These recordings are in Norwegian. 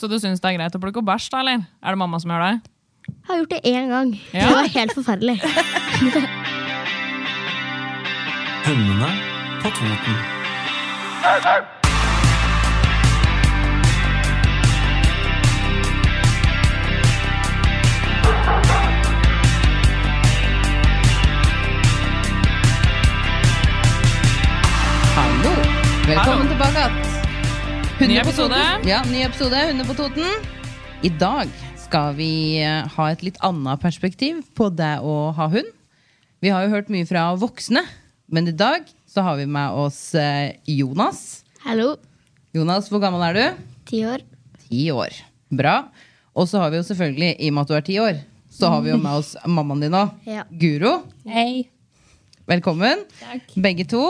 Så du syns det er greit å plukke opp bæsj, da, eller? Er det mamma som gjør det? Jeg har gjort det én gang. Ja. Det var helt forferdelig. Hundene på Toten. Hallo. Velkommen tilbake. att. Hunder Ny på episode. Toten. Ja, ny episode Hunder på Toten. I dag skal vi eh, ha et litt annet perspektiv på det å ha hund. Vi har jo hørt mye fra voksne, men i dag så har vi med oss eh, Jonas. Hallo. Jonas, hvor gammel er du? Ti år. Ti år. Bra. Og så har vi jo selvfølgelig, i og med at du er ti år, så har vi jo med oss mammaen din òg. Ja. Guro. Hei. Velkommen, Takk. begge to.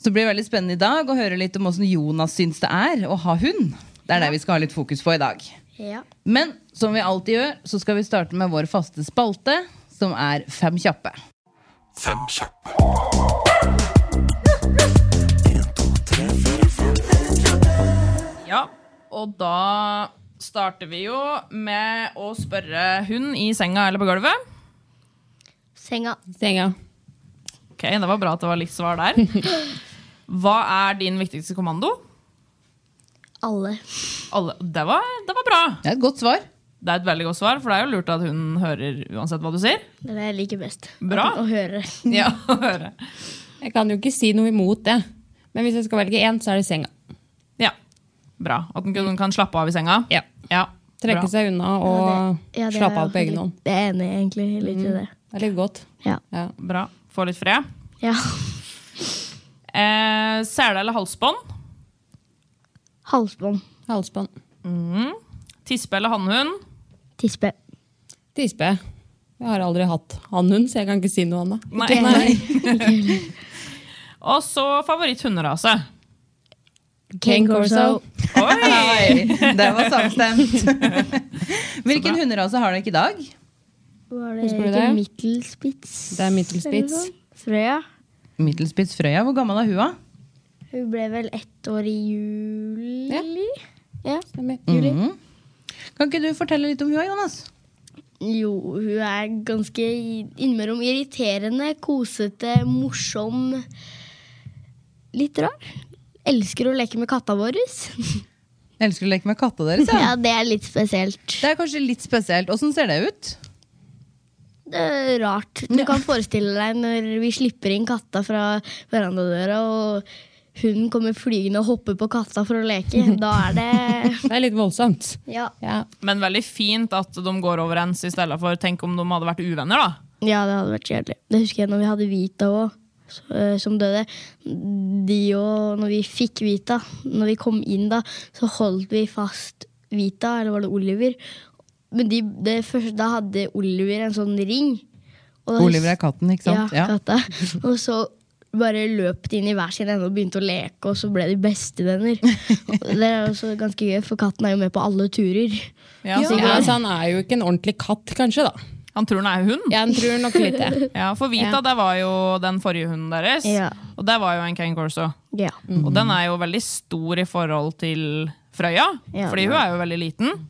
Så blir det veldig spennende i dag å høre litt om hvordan Jonas syns det er å ha hund. Det er det vi skal ha litt fokus på i dag. Ja. Men som vi alltid gjør, så skal vi starte med vår faste spalte, som er Fem kjappe. Fem kjappe. Ja. Og da starter vi jo med å spørre hun i senga eller på gulvet. Senga. Senga. Ok, Det var bra at det var litt svar der. Hva er din viktigste kommando? Alle. Alle, det, var, det var bra. Det er et godt svar. Det er et veldig godt svar, for det er jo lurt at hun hører uansett hva du sier. Det er det jeg liker best. Bra. Å høre. Ja, å høre. Jeg kan jo ikke si noe imot det. Men hvis jeg skal velge én, så er det senga. Ja, bra. At hun kan- kan slappe av i senga. Ja. Ja, Trekke bra. seg unna og Ja, det slappe er av på egen litt- hånd. Mm. Det er jeg enig i, egentlig. Jeg liker det. Det er litt godt. Ja. Ja. bra. Få litt fred. ja. Eh, sele eller halsbånd? Halsbånd. Halsbånd. Tispe eller hannhund? Tispe. Tispe. Jeg har aldri hatt hannhund, så jeg kan ikke si noe annet. Nei. Nei. Og så favoritthunderase. King Corso. Oi! Det var samstemt. Hvilken hunderase har dere i dag? Var det Husker du ikke det? middelspits? Det er middelspits. eller noe? Frøya. Middelspitz Frøya. Hvor gammel er hun? da? Hun ble vel ett år i juli? Ja. Stemmer. Mhm. Kan ikke du fortelle litt om hun, da, Jonas? Jo, hun er ganske innimellom irriterende, kosete, morsom. Litt rar. Elsker å leke med katta vår. Jeg elsker å leke med katta deres. Ja. Ja, det er litt spesielt. Det er kanskje litt spesielt. Åssen ser det ut? Det er rart. Du kan forestille deg når vi slipper inn katta fra verandadøra, og hun kommer flygende og hopper på katta for å leke. Da er det Det er litt voldsomt. Ja, Ja. Men veldig fint at de går overens i stedet for tenk om de hadde vært uvenner. da. ja det hadde vært kjedelig. Det husker jeg når vi hadde Vita òg, som døde. De òg, når vi fikk Vita, når vi kom inn da, så holdt vi fast Vita, eller var det Oliver? Men de, det første, da hadde Oliver en sånn ring. Og da hus- Oliver er katten, ikke sant? Ja, katta. Og så bare løp de inn i hver sin ende og begynte å leke, og så ble de bestevenner. Og det er også ganske gøy, for katten er jo med på alle turer. Ja, så Ja, det- så han er jo ikke en ordentlig katt, kanskje, da. Han tror den er hund. Jeg tror nok litt det. Ja, For Vita det var jo den forrige hunden deres, Ja. og det var jo en Ken Corso. Ja. Og den er jo veldig stor i forhold til Frøya, Ja, fordi den hun er jo veldig liten.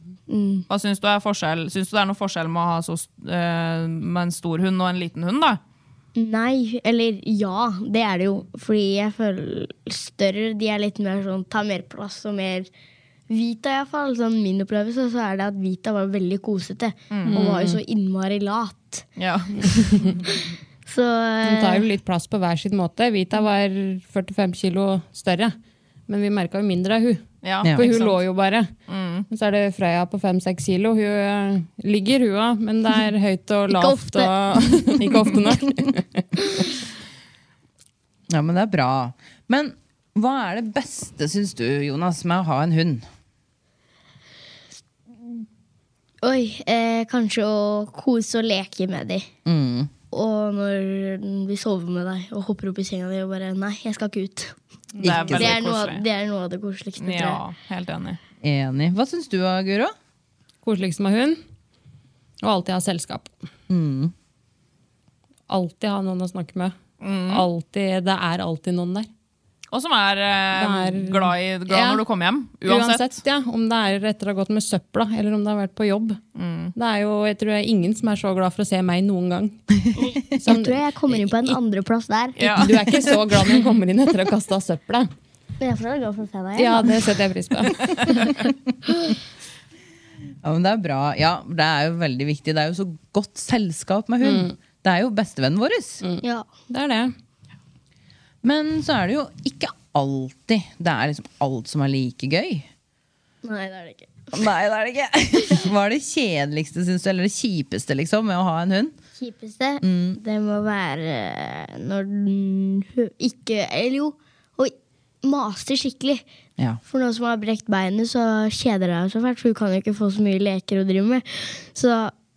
Hva syns du, er forskjell- syns du det er noe forskjell med å ha så, st- eh, med en stor hund og en liten hund? da? Nei, eller ja, det er det jo. Fordi jeg føler større, de er litt mer sånn, tar mer plass og mer Vita, iallfall. Sånn min opplevelse så er det at Vita var veldig kosete. Mm. Og var jo så innmari lat. Ja. Så Mm, eh, Den tar jo litt plass på hver sin måte. Vita var 45 kilo større, men vi merka jo mindre av hun. Ja, Ja. For ikke hun sant? lå jo bare. Mm. Men Så er det Freya på 5-6 kilo. Hun eh, ligger, hun òg, men det er høyt og lavt. ofte. Og, ikke ofte nok. Ja, men det er bra. Men hva er det beste, syns du, Jonas, med å ha en hund? Oi, eh, kanskje å kose og leke med dem. Mm. Og når vi sover med deg og hopper opp i senga di og bare Nei, jeg skal ikke ut. Det er veldig noe, av- koselig. det er noe av det koseligste. tror jeg. Ja, helt enig. Enig. Hva syns du, Guro? Koseligst med hund. Og alltid ha selskap. Mm. Alltid ha noen å snakke med. Mm. Alltid, det er alltid noen der. Og som er, eh, Det er- glad, i, glad Ja. når du kommer hjem. Uansett. ja, Om det er etter å ha gått med søpla, eller om det har vært på jobb. Mm. Det er jo, jeg tror det er ingen som er så glad for å se meg noen gang. Jeg tror jeg kommer inn på en andreplass der. Ja. Du er ikke så glad når du kommer inn etter å ha kasta søpla. Men jeg får være glad for å se deg Ja, igjen. da. det setter jeg pris på. Ja, men det er bra. Ja, det er jo veldig viktig. Det er jo så godt selskap med hund. Det er jo bestevennen vår. Ja. Det er det. Men så er det jo ikke alltid det er liksom alt som er like gøy. Nei, det er det ikke. Nei, det er det ikke. Hva er det kjedeligste, syns du, eller det kjipeste liksom, med å ha en hund? Kjipeste, det må være eh, når den hø- ikke Eller jo, å maser skikkelig. Ja. For noen som har brekt beinet, så kjeder jeg meg så fælt. For hun kan jo ikke få så mye leker å drive med. Så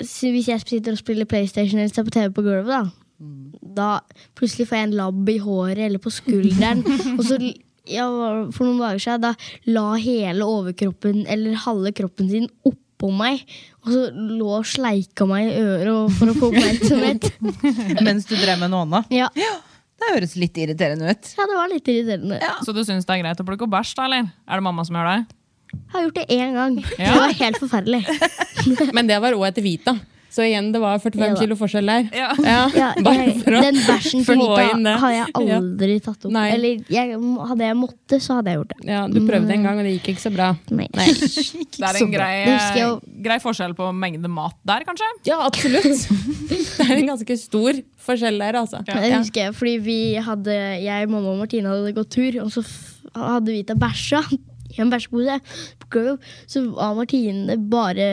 s- hvis jeg sitter og spiller PlayStation eller ser på TV på gulvet, da, Mm. da plutselig får jeg en labb i håret eller på skulderen. og så l- ja, for noen dager siden da la hele overkroppen eller halve kroppen sin oppå meg. Og så lå og sleika meg i øret og- for å få oppmerksomhet. Mens du drev med noe annet. ja. Det høres litt irriterende ut. ja, det var litt irriterende. Så du syns det er greit å plukke opp bæsj, da, eller? Er det mamma som gjør det? Jeg har gjort det én gang. Ja. Det var helt forferdelig. Men det var òg etter Vita. Så igjen, det var 45 Ja da. kilo forskjell der. Ja. Ja, bare jeg, for å den bæsjen til få inn Vita det. har jeg Ja. aldri tatt opp. Nei. Eller jeg, hadde jeg måttet, så hadde jeg gjort det. Ja, du prøvde en gang, og det gikk ikke så bra. Nei. Det er en grei, eh, Det husker jeg grei forskjell på mengde mat der, kanskje? Ja, absolutt. Det er en ganske stor forskjell der, altså. Det husker jeg, fordi vi hadde, jeg, mamma og Martine hadde gått tur, og så f- hadde Vita bæsja i en bæsjepose. på gulvet. Så var Martine bare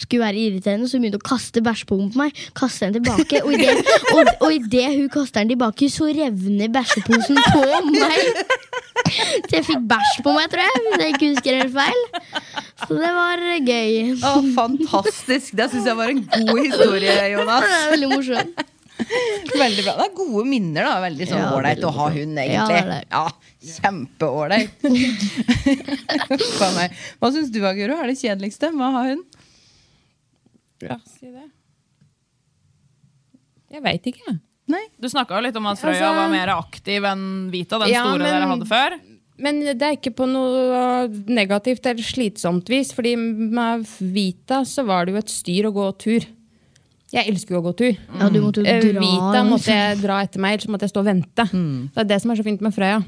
skulle være irriterende, så hun begynte å kaste bæsjeposen på meg. Kaste den tilbake, og idet og, og i det hun kaster den tilbake, så revner bæsjeposen på meg. Så jeg fikk bæsj på meg, tror jeg, hvis jeg ikke husker helt feil. Så det var gøy. Å, fantastisk! Det syns jeg var en god historie, Det Jonas. er veldig morsomt. Veldig bra. Det er gode minner, da. Veldig sånn Ja, ålreit å ha hund, Ja, det er egentlig. det. Ja, Kjempeålreit. Faen meg. Hva syns du, Aguro? Er det kjedeligste med å ha hund? Ja, si det. Jeg veit ikke, jeg. Nei. Du snakka jo litt om at Frøya Altså- var mer aktiv enn Vita, den Ja, store men- dere hadde før. Men det er ikke på noe negativt eller slitsomt vis. fordi med Vita så var det jo et styr å gå tur. Jeg elsker jo å gå tur. Ja, du måtte Eh, jo dra. Vita måtte jeg dra etter meg, ellers måtte jeg stå og vente. Det er det som er så fint med Frøya.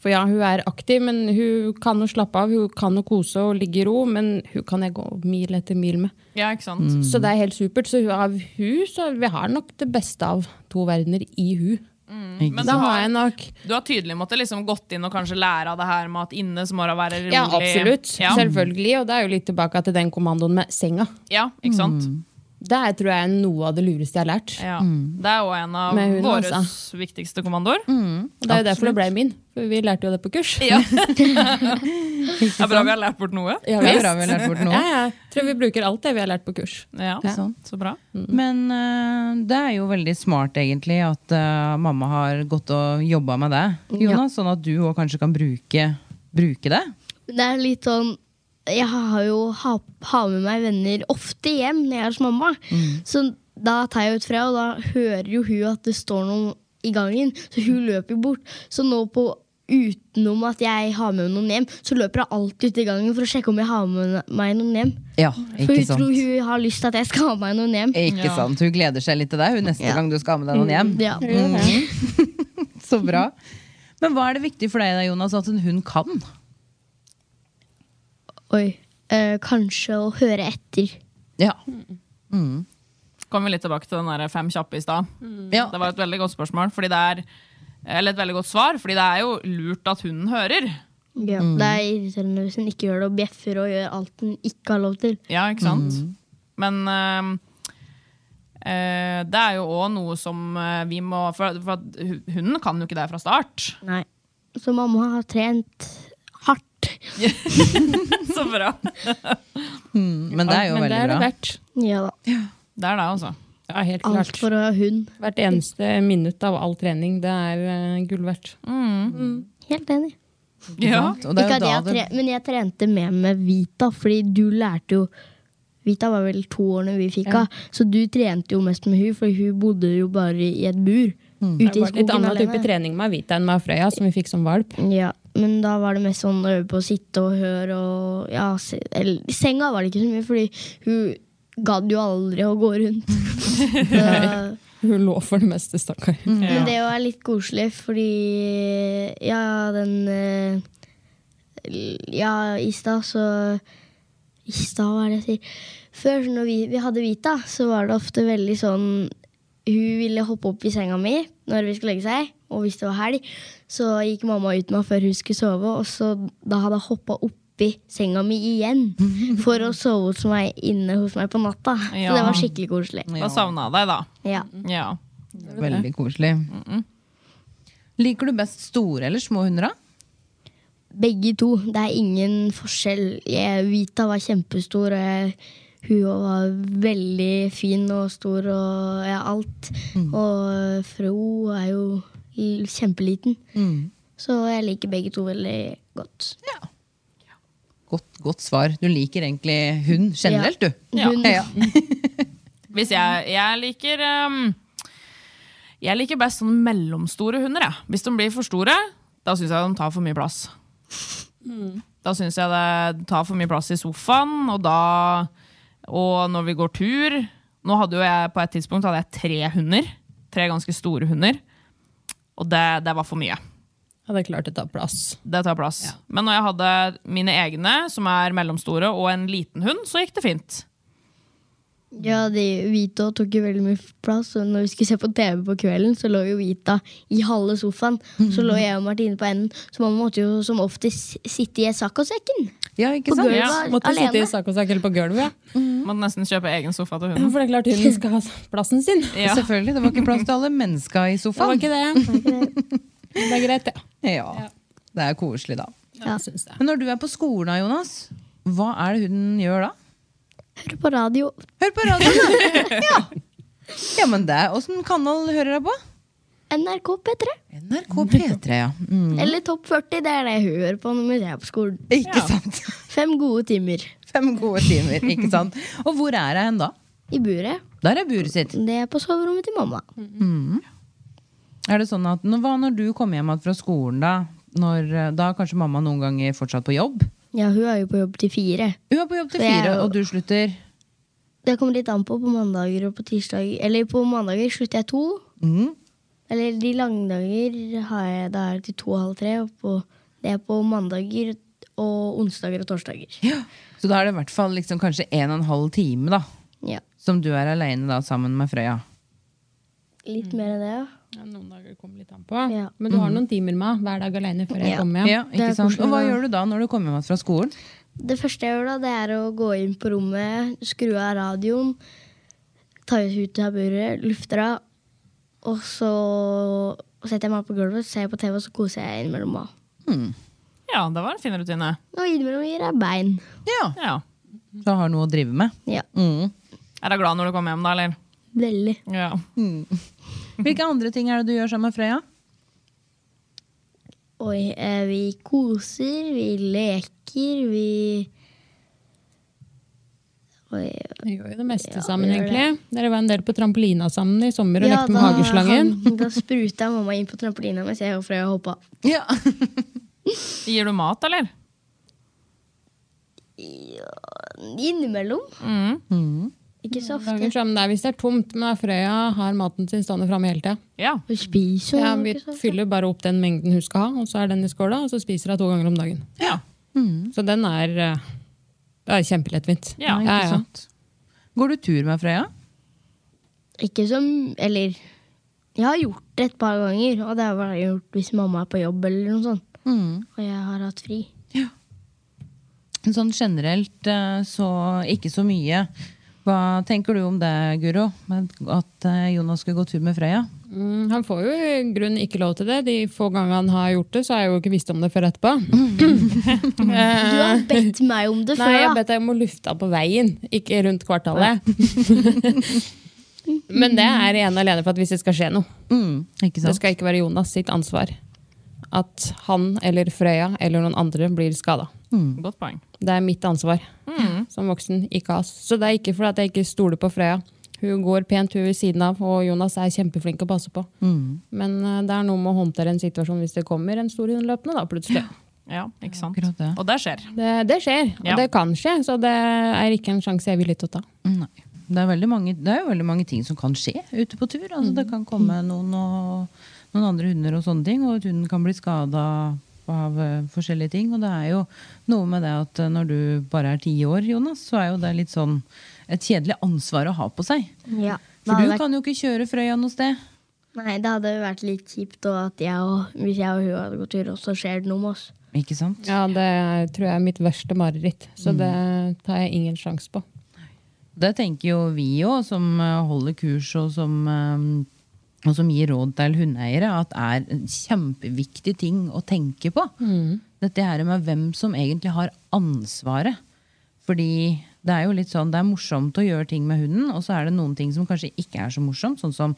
For ja, hun er aktiv, men hun kan jo slappe av, hun kan jo kose og ligge i ro, men hun kan jeg gå mil etter mil med. Ja, ikke sant? Så det er helt supert. Så hun- av hun, så vi har nok det beste av to verdener i hun. Men Da du har jeg har, nok du har tydelig måttet liksom gått inn og kanskje lære av det her med at inne så må det være rolig. Ja, absolutt. Ja, Selvfølgelig. Og det er jo litt tilbake til den kommandoen med senga. ja ikke sant? Det er, tror jeg er noe av det lureste jeg har lært. Ja. Det er jo en av Med hunden, våre altså. Mm. viktigste kommandoer. Og det er jo derfor det ble min. For vi lærte jo det på kurs. Ja. det er bra vi har lært bort noe. Ja, Det er visst. bra vi har lært bort noe. Ja, jeg tror vi bruker alt det vi har lært på kurs. Ja, Sånn. Så bra. Men eh, det er jo veldig smart, egentlig, at eh, mamma har gått og jobba med det, Jonas. Sånn at du òg kanskje kan bruke, bruke det. Det er litt sånn Jeg har jo ha, har med meg venner ofte hjem når jeg er hos mamma. Mm. Så da tar jeg ut fra, og da hører jo hun at det står noen i gangen. Så hun løper jo bort. Så nå på utenom at jeg har med noen hjem, så løper hun alltid ut i gangen for å sjekke om jeg har med meg noen hjem. Ja, For ikke hun tror sant? hun har lyst til at jeg skal ha med meg noen hjem. Ikke sant? Hun gleder seg litt til deg hun, neste Ja. gang du skal ha med deg noen hjem. Ja. Så bra. Men hva er det viktig for deg da, Jonas, at en hund kan? Oi. Eh, kanskje å høre etter. Ja. Kommer vi litt tilbake til den der fem kjappe i stad. Ja. Det var et veldig godt spørsmål, fordi det er, eller et veldig godt svar, fordi det er jo lurt at hunden hører. Ja, Det er irriterende hvis hun ikke gjør det og bjeffer og gjør alt hun ikke har lov til. Ja, ikke sant? Men eh, eh, det er jo òg noe som eh, vi må For, for at hu- hunden kan jo ikke det fra start. Nei. Så mamma har trent hardt. Så bra. men det er jo men veldig det er bra. det verdt. Ja da. Det er det, altså. Ja, helt Alt klart. for å ha hund. Hvert eneste minutt av all trening, det er eh, gull verdt. Mm. Helt enig. Ja. Og det Ikke er at jo jeg da det tre, men jeg trente mer med Vita, fordi du lærte jo Vita var vel to år når vi fikk henne, så du trente jo mest med hun, for hun bodde jo bare i et bur. Ute Mm. Det i var litt skogen annen type alene. trening med Avita enn med Frøya, som vi fikk som valp. Ja, men da var det mest sånn å øve på å sitte og høre og ja, se, eller, I senga var det ikke så mye, fordi hun gadd jo aldri å gå rundt. Så- Hun lå for det meste, stakkar. Mm. men det var litt koselig, fordi ja, den eh, Ja, i stad så I stad, hva er det jeg sier? Før, så når vi, vi hadde Vita, så var det ofte veldig sånn Hun ville hoppe opp i senga mi når vi skulle legge seg, og hvis det var helg, så gikk mamma ut med henne før hun skulle sove, og så da hadde hun hoppa oppi senga mi igjen for å sove hos meg inne hos meg på natta. Så det Ja. var skikkelig koselig. Da savna jeg deg, da. Ja. Ja. er veldig koselig. Liker du best store eller små hunder, da? Begge to. Det er ingen forskjell. Jeg, Vita var kjempestor, og jeg, hun også var veldig fin og stor og ja, alt. Mm. Og Fro er jo l- kjempeliten. Mm. Så jeg liker begge to veldig godt. Godt, godt svar. Du liker egentlig hund generelt, du. Ja. Hun, Ja. Hvis jeg, jeg liker ehm, Jeg liker best sånne mellomstore hunder. Jeg. Hvis de blir for store, da syns jeg de tar for mye plass. Da syns jeg det tar for mye plass i sofaen, og da Og når vi går tur Nå hadde jo jeg på et tidspunkt hadde jeg tre hunder. Tre ganske store hunder. Og det, det var for mye. Ja, det er klart det tar plass. Det tar plass. Men når jeg hadde mine egne, som er mellomstore, og en liten hund, så gikk det fint. ja, de, Vita tok jo veldig mye plass, og når vi skulle se på TV på kvelden, så lå jo Vita i halve sofaen. Så lå jeg og Martine på enden, så man måtte jo som oftest sitte i saccosekken. Ja, ikke På sant? gulvet Ja, Måtte alene. sitte i sakkosak eller på gulvet, ja. Måtte nesten kjøpe egen sofa til hunden. For det er klart hunden skal ha plassen sin. Ja. Selvfølgelig. Det var ikke plass til alle menneska i Det var sofaen. ikke det. Det er greit, ja. Ja, Det er koselig, da. Ja. Jeg syns det. Men når du er på skolen, da, Jonas, hva er det hunden gjør da? Hør på radio. Hør på radioen, da! Ja. ja, men det Åssen kanal hører du på? NRK P3. NRK P3, ja. Mm. Eller Topp 40. Det er det jeg hører på når jeg er på skolen. Ikke sant? Fem gode timer Fem gode timer, ikke sant? Og hvor er hun da? i buret. Der er buret sitt. Det er på soverommet til mamma. Er det sånn at, nå- Hva når du kommer hjem igjen fra skolen, da? Når, eh, da er kanskje mamma noen ganger fortsatt på jobb? Ja, hun er jo på jobb til fire. Hun er på jobb til Det er fire, jo- og du slutter Det kommer litt an på på mandager og på tirsdag. Eller på mandager slutter jeg to. Mhm. Eller de lange dager har jeg, da er det til to og halv tre. Og på, det er på mandager og onsdager og torsdager. Så da er det i hvert fall liksom kanskje en og en halv time da Ja, som du er aleine da, sammen med Frøya. Litt mer enn det, ja. Ja, noen dager kommer litt an på. Ja. Men du har noen timer med hver dag alene før jeg Ja. kommer Mm. Ja, ikke hjem. det er sant? koselig, Og hva da. gjør du da når du kommer hjem igjen fra skolen? Det første jeg gjør, da, det er å gå inn på rommet, skru av radioen, ta ut av buret, lufter av, og så setter jeg meg på gulvet, ser på TV, og så koser jeg innimellom meg. Ja, det var en fin rutine. Og innimellom gir jeg bein. Ja, Ja. Så har noe å drive med. Ja, Mm. Er du glad når du kommer hjem, da? eller? veldig. Ja. Hvilke andre ting er det du gjør sammen med Frøya? Oi, eh, vi koser, vi leker, vi Oi, Vi gjør jo det meste sammen, vi gjør egentlig. Dere var en del på trampolina sammen i sommer og lekte med da, hageslangen. han- da spruta mamma inn på trampolina mens jeg og Frøya hoppa. Ja. Gir du mat, eller? Innimellom. Mm. Ikke så ofte. Dagen sammen der, sånn, hvis det er tomt, men da Frøya har maten sin stående framme hele tida. Ja. Hun spiser jo Ja, vi ikke sånn. så ofte. fyller bare opp den mengden hun skal ha, og så er den i skåla, og så spiser hun to ganger om dagen. Ja. Så den er, eh, det er kjempelettvint. Ja, ja, Ikke ja. sant? Går du tur med Frøya? Ikke som Eller jeg har gjort det et par ganger. Og det har bare jeg gjort hvis mamma er på jobb eller noe sånt. Mm. Og jeg har hatt fri. Sånn generelt eh, så ikke så mye. Hva tenker du om det, Guro? Med At eh, Jonas skulle gå tur med Frøya? Mm, han får jo i grunnen ikke lov til det. De få gangene han har gjort det, så har jeg jo ikke visst om det før etterpå. Du har bedt meg om det Nei, før, jeg da. bedt deg om å lufte av på veien, ikke rundt kvartalet. Men det er ene og alene for at hvis det skal skje noe. Mm, ikke Det sant? skal ikke være Jonas sitt ansvar at han eller Frøya eller noen andre blir skada. Mm. Godt poeng. Det er mitt ansvar som voksen, ikke hans. Så det er ikke fordi at jeg ikke stoler på Frøya. Hun går pent hun ved siden av, og Jonas er kjempeflink å passe på. Men eh, det er noe med å håndtere en situasjon hvis det kommer en stor hund løpende, da, plutselig. Ja, ikke sant? Akkurat det. Og det skjer. Det, det skjer, og Ja. det kan skje, så det er ikke en sjanse jeg er villig til å ta. Mm, Nei. Det er, veldig mange, det er jo veldig mange ting som kan skje ute på tur. Altså, Mm. det kan komme noen, og, noen andre hunder og sånne ting, og at hunden kan bli skada av eh, forskjellige ting. Og det er jo noe med det at eh, når du bare er ti år, Jonas, så er jo det litt sånn et kjedelig ansvar å ha på seg. Ja. For du det hadde vært, kan jo ikke kjøre Frøya noe sted. nei, det hadde vært litt kjipt og at jeg og, hvis jeg og hun hadde gått tur, og så skjer det noe med oss. Ikke sant? Ja, Mm. det er- tror jeg er mitt verste mareritt, så det tar jeg ingen sjanse på. Det tenker jo vi òg, som eh, holder kurs og som, eh, og som gir råd til hundeeiere, at er en kjempeviktig ting å tenke på. Dette her med hvem som egentlig har ansvaret. Fordi det er jo litt sånn, det er morsomt å gjøre ting med hunden, og så er det noen ting som kanskje ikke er så morsomt. Sånn som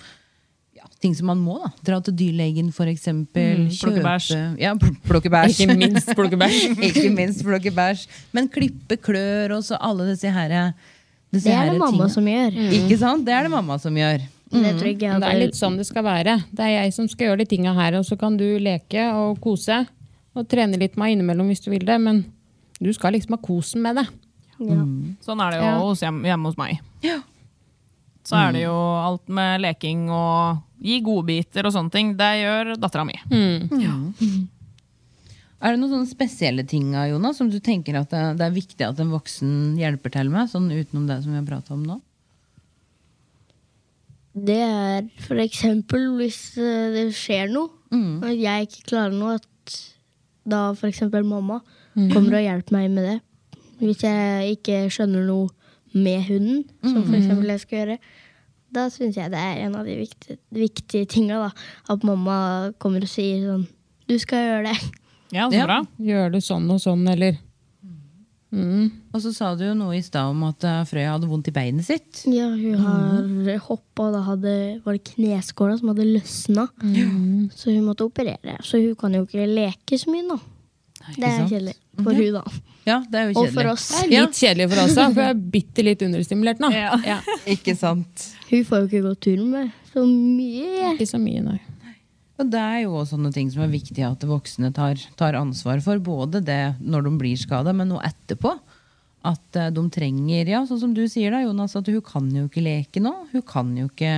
ja, ting som man må. da. Dra til dyrlegen, for eksempel. plukke bæsj. Kjøpe- Ja, pl plukke bæsj. Ikke minst plukke bæsj. ikke minst plukke bæsj. Men klippe klør og så alle disse herre Det er det mamma som gjør. Mm. Ikke sant? Det er det mamma som gjør. Det tror jeg ikke jeg Men Mm. det er hadde litt sånn det skal være. Det er jeg som skal gjøre de tinga her, og så kan du leke og kose. Og trene litt med meg innimellom hvis du vil det, men du skal liksom ha kosen med det. Sånn er det jo Ja. hos hjem, hjemme hos meg. Så er det Mm. jo alt med leking og gi godbiter og sånne ting. Det gjør dattera mi. Mm. Er det noen sånne spesielle ting da, Jonas, som du tenker at det, det er viktig at en voksen hjelper til med? Sånn utenom det som vi har pratet om nå? Det er for eksempel hvis eh, det skjer noe, og jeg ikke klarer noe, at da for eksempel mamma kommer og hjelper meg med det. Hvis jeg ikke skjønner noe med hunden, som for eksempel jeg skal gjøre, da syns jeg det er en av de viktige, viktige tinga, da. At mamma kommer og sier sånn Du skal gjøre det. Ja, så Ja. bra. Gjør du sånn og sånn, eller Mm. Og så sa du jo noe i stad om at eh, Frøya hadde vondt i beinet sitt. Ja, hun Mhm. har hoppa, og da hadde, var det kneskåla som hadde løsna. Mhm. Så hun måtte operere. Så hun kan jo ikke leke så mye nå. Det er sant? kjedelig for hun da. Ja, det er jo Og kjedelig. for oss. Det er litt kjedelig for oss òg, for jeg er bitte litt understimulert nå. Ja. Ikke sant? Hun får jo ikke gå tur med så mye. Ikke så mye, nei. Og det er jo også sånne ting som er viktig at voksne tar, tar ansvar for. Både det når de blir skada, men noe etterpå. At eh, de trenger, ja, sånn som du sier da, Jonas, at hun kan jo ikke leke nå. Hun kan jo ikke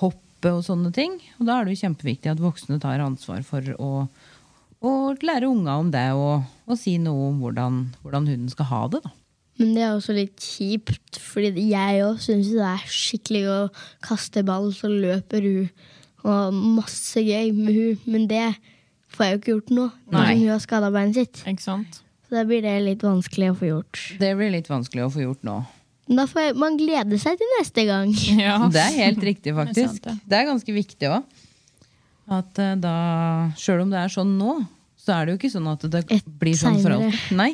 hoppe og sånne ting. Og da er det jo kjempeviktig at voksne tar ansvar for å, å lære unga om det. Og, og si noe om hvordan, hvordan hunden skal ha det, da. Men det er også litt kjipt, fordi jeg òg syns det er skikkelig gøy å kaste ball, så løper hun. Og masse gøy med hun, men det får jeg jo ikke gjort nå. Nei. Som hun har skada beinet sitt. Ikke sant? Så da blir det litt vanskelig å få gjort. Det blir litt vanskelig å få gjort nå. Men da får jeg, man glede seg til neste gang. Ja. Det er helt riktig, faktisk. Det er sant, Det er ganske viktig òg. At eh, da Sjøl om det er sånn nå, så er det jo ikke sånn at det Et blir sånn for senere. alltid. Nei,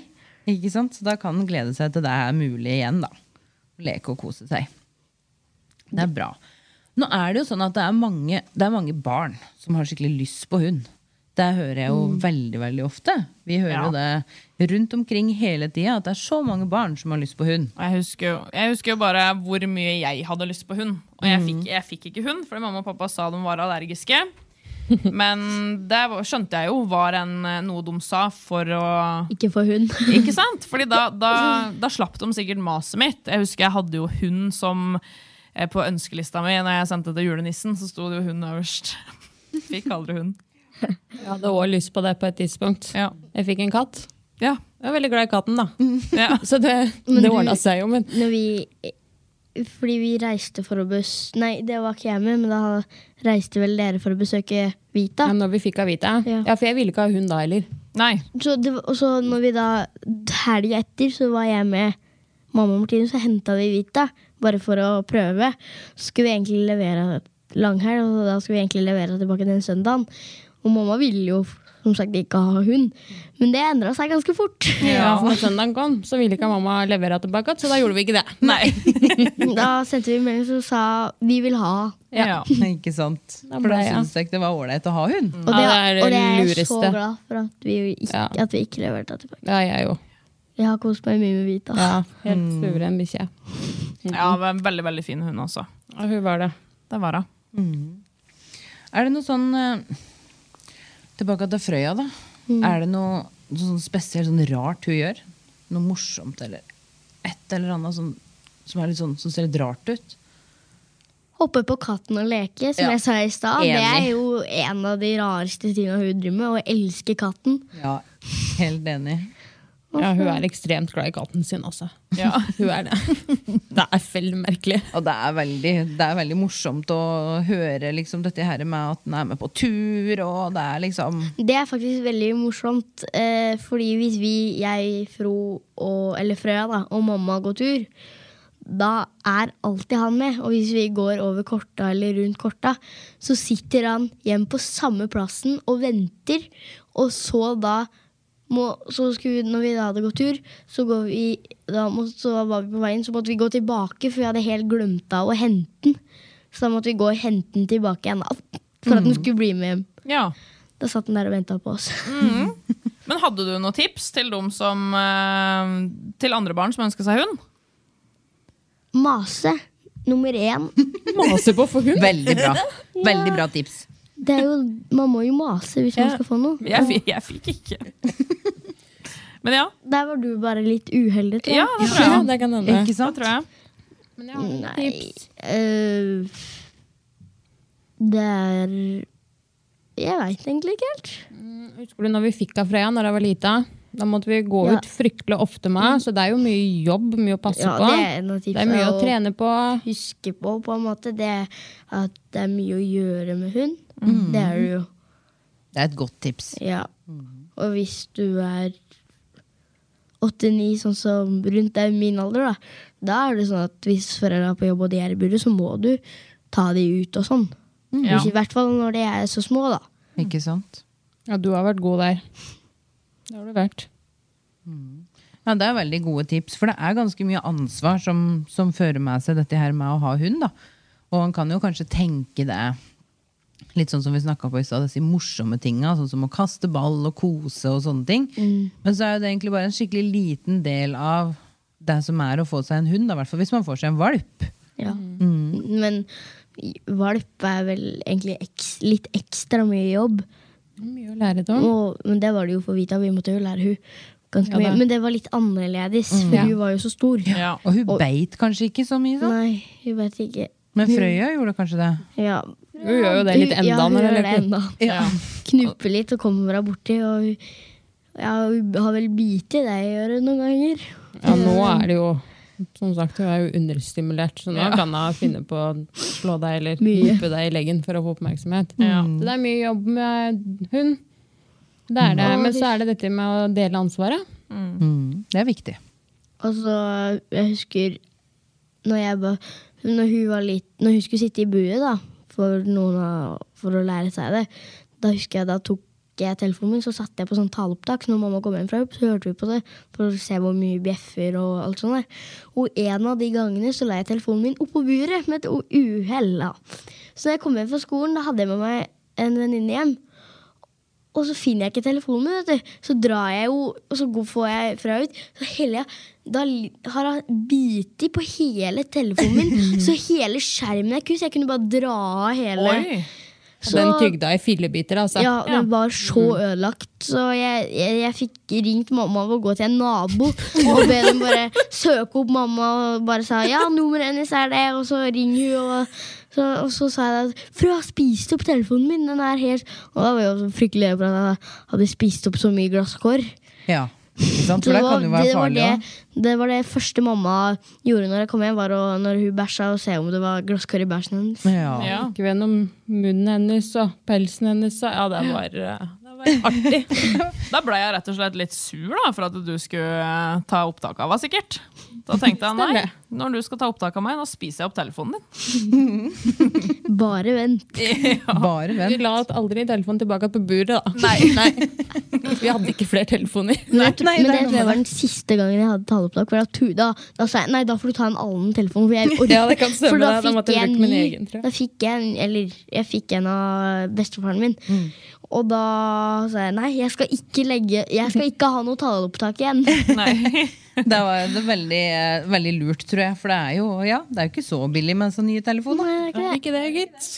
ikke sant? Så da kan en glede seg til det er mulig igjen, da. Å Leke og kose seg. Det er bra. Nå er det jo sånn at det er mange, det er mange barn som har skikkelig lyst på hund. Det hører jeg jo veldig veldig ofte. Vi hører jo det rundt omkring hele tida, at det er så mange barn som har lyst på hund. Og Jeg husker, jo, jeg husker jo bare hvor mye jeg hadde lyst på hund. Og jeg fikk, jeg fikk ikke hund, fordi mamma og pappa sa de var allergiske. Men det var- skjønte jeg jo var en, eh, noe de sa for å Ikke for hund. Ikke sant? Fordi da, da, da slapp de sikkert maset mitt. Jeg husker jeg hadde jo hund som eh, På ønskelista mi når jeg sendte til julenissen, så sto det jo hund øverst. Fikk aldri hund. Jeg hadde òg lyst på det på et tidspunkt. Ja. Jeg fikk en katt. Ja. Jeg var veldig glad i katten, da. ja. Så det, Men det du- ordna seg jo, Mm. men Når vi, fordi vi reiste for å bes... Nei, det var ikke jeg med, men da reiste vel dere for å besøke Vita. ja, når vi fikk Avita Ja. Ja, for jeg ville ikke ha hund da heller. Nei. Så det, var- og så når vi da helga etter, så var jeg med mamma og Martine, så henta vi Vita. Bare for å prøve. Så skulle vi egentlig levere langhelg, og da skulle vi egentlig levere tilbake den søndagen. Og mamma ville jo som sagt ikke ha hund, men det endra seg ganske fort. Ja, for når søndagen kom, så ville ikke mamma levere tilbake, så da gjorde vi ikke det. Nei. Da sendte vi melding som sa vi vil ha. Ja. Ikke sant? For da ble jeg. syns jeg ikke det var ålreit å ha hund. Og det, Ja, det er det og det er jeg så lureste. glad for at vi ikke, Ja. at vi ikke leverte det tilbake. Ja, jeg jo. Hmm. Jeg har kost meg mye med Vita. Ja, helt suveren bikkje. Ja, det var en veldig, veldig fin hund også. Ja, hun var det. Det var hun. Er det noe sånn eh, Tilbake til Frøya, da. Er det noe, noe sånn spesielt sånn rart hun gjør? Noe morsomt eller et eller annet sånn, som, er litt sånn, som ser litt rart ut? Hoppe på katten og leke, som Ja. jeg sa i stad. Det er Enig. jo en av de rareste tinga hun driver med. Å elske katten. Ja, helt enig. Ja, hun er ekstremt glad i katten sin, altså. Ja. Hun er det. Det er veldig merkelig. Og det er veldig, det er veldig morsomt å høre liksom, dette her med at den er med på tur, og det er liksom Det er faktisk veldig morsomt, eh, fordi hvis vi, jeg, Fro og, eller Frøya da, og mamma går tur, da er alltid han med. Og hvis vi går over korta eller rundt korta, så sitter han hjemme på samme plassen og venter. Og så da må, så skulle, vi- Når vi da hadde gått tur, så, går vi, da må, så var vi på veien, så måtte vi gå tilbake, for vi hadde helt glemt av å hente den. Så da måtte vi gå og hente den tilbake igjen, da, for at den skulle bli med hjem. Ja. Da satt den der og venta på oss. Men hadde du noen tips til, dem som, eh, til andre barn som ønsker seg hund? Mase nummer én. Maser på for hund. Veldig bra. Veldig bra tips. Det er jo, man må jo mase hvis man Ja. skal få noe. Jeg, fi- jeg fikk ikke. Men ja, Der var du bare litt uheldig, tror ja jeg. det tror Ja, jeg. det kan hende. Ikke Det sant? tror jeg. Men jeg har noen Nei, tips. øh, det er Jeg veit egentlig ikke helt. Husker du når vi fikk av Freya når jeg var lita? Da måtte vi gå Ja. ut fryktelig ofte med henne, så det er jo mye jobb, mye å passe Ja, på. det er en av Det er mye å tipsene. trene på. Huske på på en måte det er at det er mye å gjøre med hund. Mm. Det er det jo. Det er et godt tips. Ja. Mm-hmm. Og hvis du er 8-9, sånn som rundt deg min alder, da, da er det sånn at hvis foreldra er på jobb og de er i buret, så må du ta de ut og sånn. Mm. Ja. Hvis, I hvert fall når de er så små, da. Ikke sant? Ja, du har vært god der. Det har du vært. Ja, Det er veldig gode tips, for det er ganske mye ansvar som, som fører med seg dette her med å ha hund. da. Og en kan jo kanskje tenke det litt sånn som vi snakka på i stad, disse morsomme tinga, sånn som å kaste ball og kose og sånne ting. Mm. Men så er jo det egentlig bare en skikkelig liten del av det som er å få seg en hund, da, i hvert fall hvis man får seg en valp. Ja. Mm-hmm. Men valp er vel egentlig eks, litt ekstra mye jobb. Mye å lære det om. Og, men det var det jo for Vita. Vi måtte jo lære hun ganske Mm. Ja, mye. da. Men det var litt annerledes, for Mm. Ja. hun var jo så stor. Ja. Og hun Og- beit kanskje ikke så mye, sånn. Nei, hun vet ikke. men Frøya gjorde kanskje det. Ja. Hun gjør jo det litt enda Ja, hun når hun gjør det leker. enda. Ja. knupe litt og kommer fra borti. Og ja, hun har vel bitt i deg i øret noen ganger. Ja, nå er det jo Som sagt, hun er jo understimulert, så nå kan hun finne på å slå deg eller Mye. knipe deg i leggen for å få oppmerksomhet. Ja. Så det er mye jobb med hund. Det er det. Men så er det dette med å dele ansvaret. Mm, det er viktig. Og så jeg husker når jeg ba, når hun var litt, når hun skulle sitte i buet da, for, noen av, for å lære seg det, da husker jeg da tok jeg telefonen min, så satte jeg på sånn taleopptak. Så når mamma kom hjem fra jobb, så hørte vi på det for å se hvor mye bjeffer og alt sånt der. Og en av de gangene så la jeg telefonen min oppå buret med et u- uhell. da. Så da jeg kom hjem fra skolen, da hadde jeg med meg en venninne hjem. Og så finner jeg ikke telefonen min, vet du. Så drar jeg jo, og så går- får jeg fra ut. Så heller jeg, da li- har han biti på hele telefonen min, så hele skjermen er kus. Jeg kunne bare dra av hele. Oi! Og Den tygda i fillebiter, altså. Ja, den var så Mhm. ødelagt. Så jeg, jeg, jeg fikk ringt mamma og gå til en nabo og be dem bare søke opp mamma. Og bare sa ja, nummeret hennes er det, og så ring hun. Og så, og så sa jeg at fru har spist opp telefonen min. den er helt... Og da var jeg jo så fryktelig redd for at jeg hadde spist opp så mye glasskår. Ja, ikke sant? Så For det kan jo være det, var farlig det, òg. det var det første mamma gjorde når jeg kom hjem, var å, når hun bæsja, å se om det var glasskår i bæsjen hennes. Ja. Ja. Ikke gjennom munnen hennes og pelsen hennes. Og, ja, det var, eh, det Artig. Da ble jeg rett og slett litt sur da, for at du skulle eh, ta opptak av meg, sikkert. Da tenkte jeg nei, Stemmer. når du skal ta opptak av meg, da spiser jeg opp telefonen din. Bare vent. Bare Vi vent. la aldri telefonen tilbake på buret, da. Nei, Vi hadde ikke flere telefoner. Men jeg, nei, men det er noe jeg tror det var med den siste gangen jeg hadde taleopptak. for Da, tu- da, da sa jeg nei, da får du ta en annen telefon. For, jeg, orker- Ja, det kan stemme, for da da. Da måtte fikk jeg jeg en bruke min ny. egen, tror jeg. Da fikk jeg en, eller jeg fikk en av bestefaren min. Og da sa jeg nei, jeg skal ikke, legge, jeg skal ikke ha noe taleopptak igjen. nei. Det var det veldig, eh, veldig lurt, tror jeg. For det er jo ja, det er jo ikke så billig med sånn nye telefoner. Ikke det, gitt.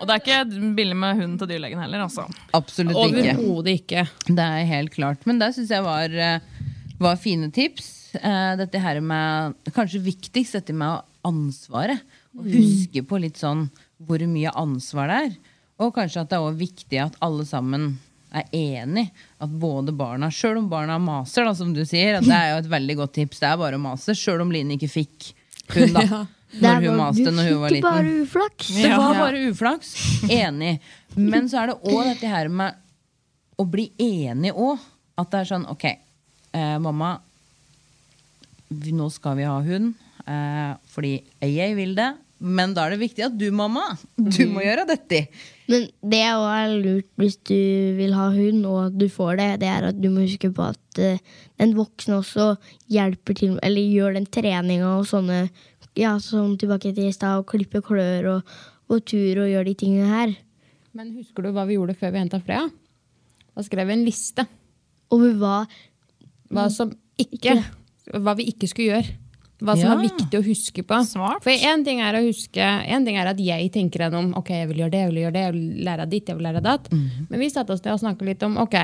Og det er ikke billig med hunden til dyrlegen heller, altså. Absolutt ikke. Overhodet ikke. Det er helt klart. Men det syns jeg var, eh, var fine tips. Eh, Dette her med Kanskje viktigst dette med ansvaret. Å Mm. huske på litt sånn hvor mye ansvar det er. Og kanskje at det er også viktig at alle sammen er enig. At både barna, sjøl om barna maser, da, som du sier, at det er jo et veldig godt tips. Det er bare å mase. Sjøl om Line ikke fikk hun, da. Når hun maste når hun var fikk liten. bare uflaks. Det Ja. var bare uflaks. Enig. Men så er det òg dette her med å bli enig òg. At det er sånn OK, eh, mamma. vi- Nå skal vi ha hund. Eh, fordi jeg vil det. Men da er det viktig at du, mamma, du Mm. må gjøre dette. Men det er også lurt hvis du vil ha hund, og at du får det, det er at du må huske på at eh, den voksne også hjelper til, eller gjør den treninga og sånne, ja, som tilbake til i stad, og klipper klør og gå tur og gjør de tingene her. Men husker du hva vi gjorde før vi henta Freya? Da skrev vi en liste. Over hva Hva som ikke Hva vi ikke skulle gjøre. Hva som Ja. var viktig å huske på. Smart. For én ting er å huske En ting er at jeg tenker gjennom Ok, jeg vil gjøre det, jeg vil gjøre det, jeg vil lære av ditt, jeg vil lære av datt. Men vi satte oss ned og snakket litt om Ok,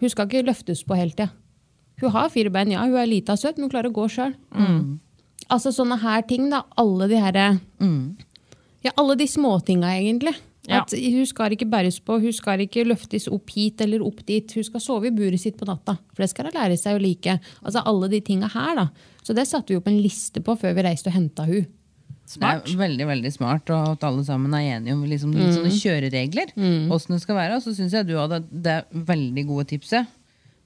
hun skal ikke løftes på hele tida. Hun har fire bein, ja, hun er lita og søt, men hun klarer å gå sjøl. Altså sånne her ting, da. Alle de herre Ja, alle de småtinga, egentlig. Ja. At hun skal ikke bæres på, hun skal ikke løftes opp hit eller opp dit. Hun skal sove i buret sitt på natta, for det skal hun lære seg å like. Altså alle de tinga her, da. Så det satte vi opp en liste på før vi reiste og henta hun. Det er veldig veldig smart, og at alle sammen er enige om liksom, litt sånne Mm. kjøreregler. Hvordan det skal være. Og så syns jeg du hadde det veldig gode tipset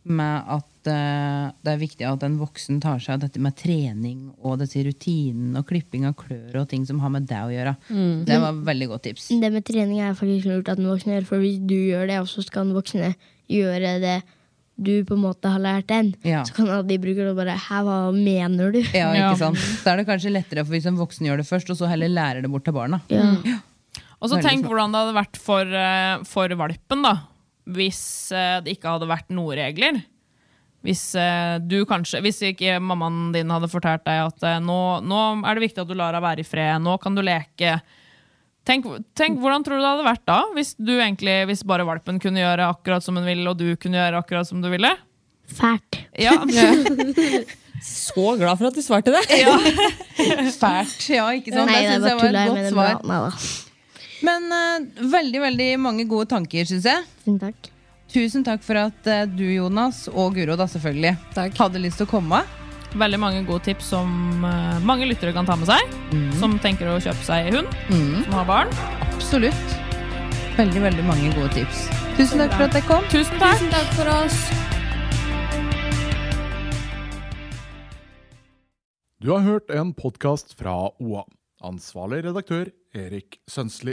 med at eh, det er viktig at en voksen tar seg av dette med trening og disse rutinene og klipping av klør og ting som har med deg å gjøre. Mm. Det var veldig godt tips. det med trening er faktisk lurt at den voksne gjør, for hvis du gjør det, og så skal den voksne gjøre det du på en måte har lært den, Ja. så kan alle de bruke det og bare Hæ, hva mener du? Ja, Ja. ikke sant? Da er det kanskje lettere for hvis en voksen gjør det først, og så heller lærer det bort til barna. Og så Veldig tenk smart. hvordan det hadde vært for, eh, for valpen da, hvis eh, det ikke hadde vært noen regler. Hvis eh, du kanskje, hvis ikke mammaen din hadde fortalt deg at eh, nå, nå er det viktig at du lar henne være i fred, nå kan du leke. Tenk, tenk hvordan tror du det hadde vært da, hvis, du egentlig, hvis bare valpen kunne gjøre akkurat som hun ville, og du kunne gjøre akkurat som du ville? Fælt. Ja, Så glad for at du svarte det! Fælt. Ja, ikke sant? Nei, det det syns var jeg var tull. et Jeg godt mener bra. svar. Nei da. Men eh, veldig, veldig mange gode tanker, syns jeg. Tusen takk. Tusen takk for at eh, du, Jonas, og Guro da selvfølgelig Takk. hadde lyst til å komme. veldig mange gode tips som eh, mange lyttere kan ta med seg, som tenker å kjøpe seg hund, som har barn. Absolutt. Veldig, veldig mange gode tips. Tusen takk for at jeg kom. Tusen takk! Tusen takk for oss! Du har hørt en podkast fra OA. Ansvarlig redaktør Erik Sønsli.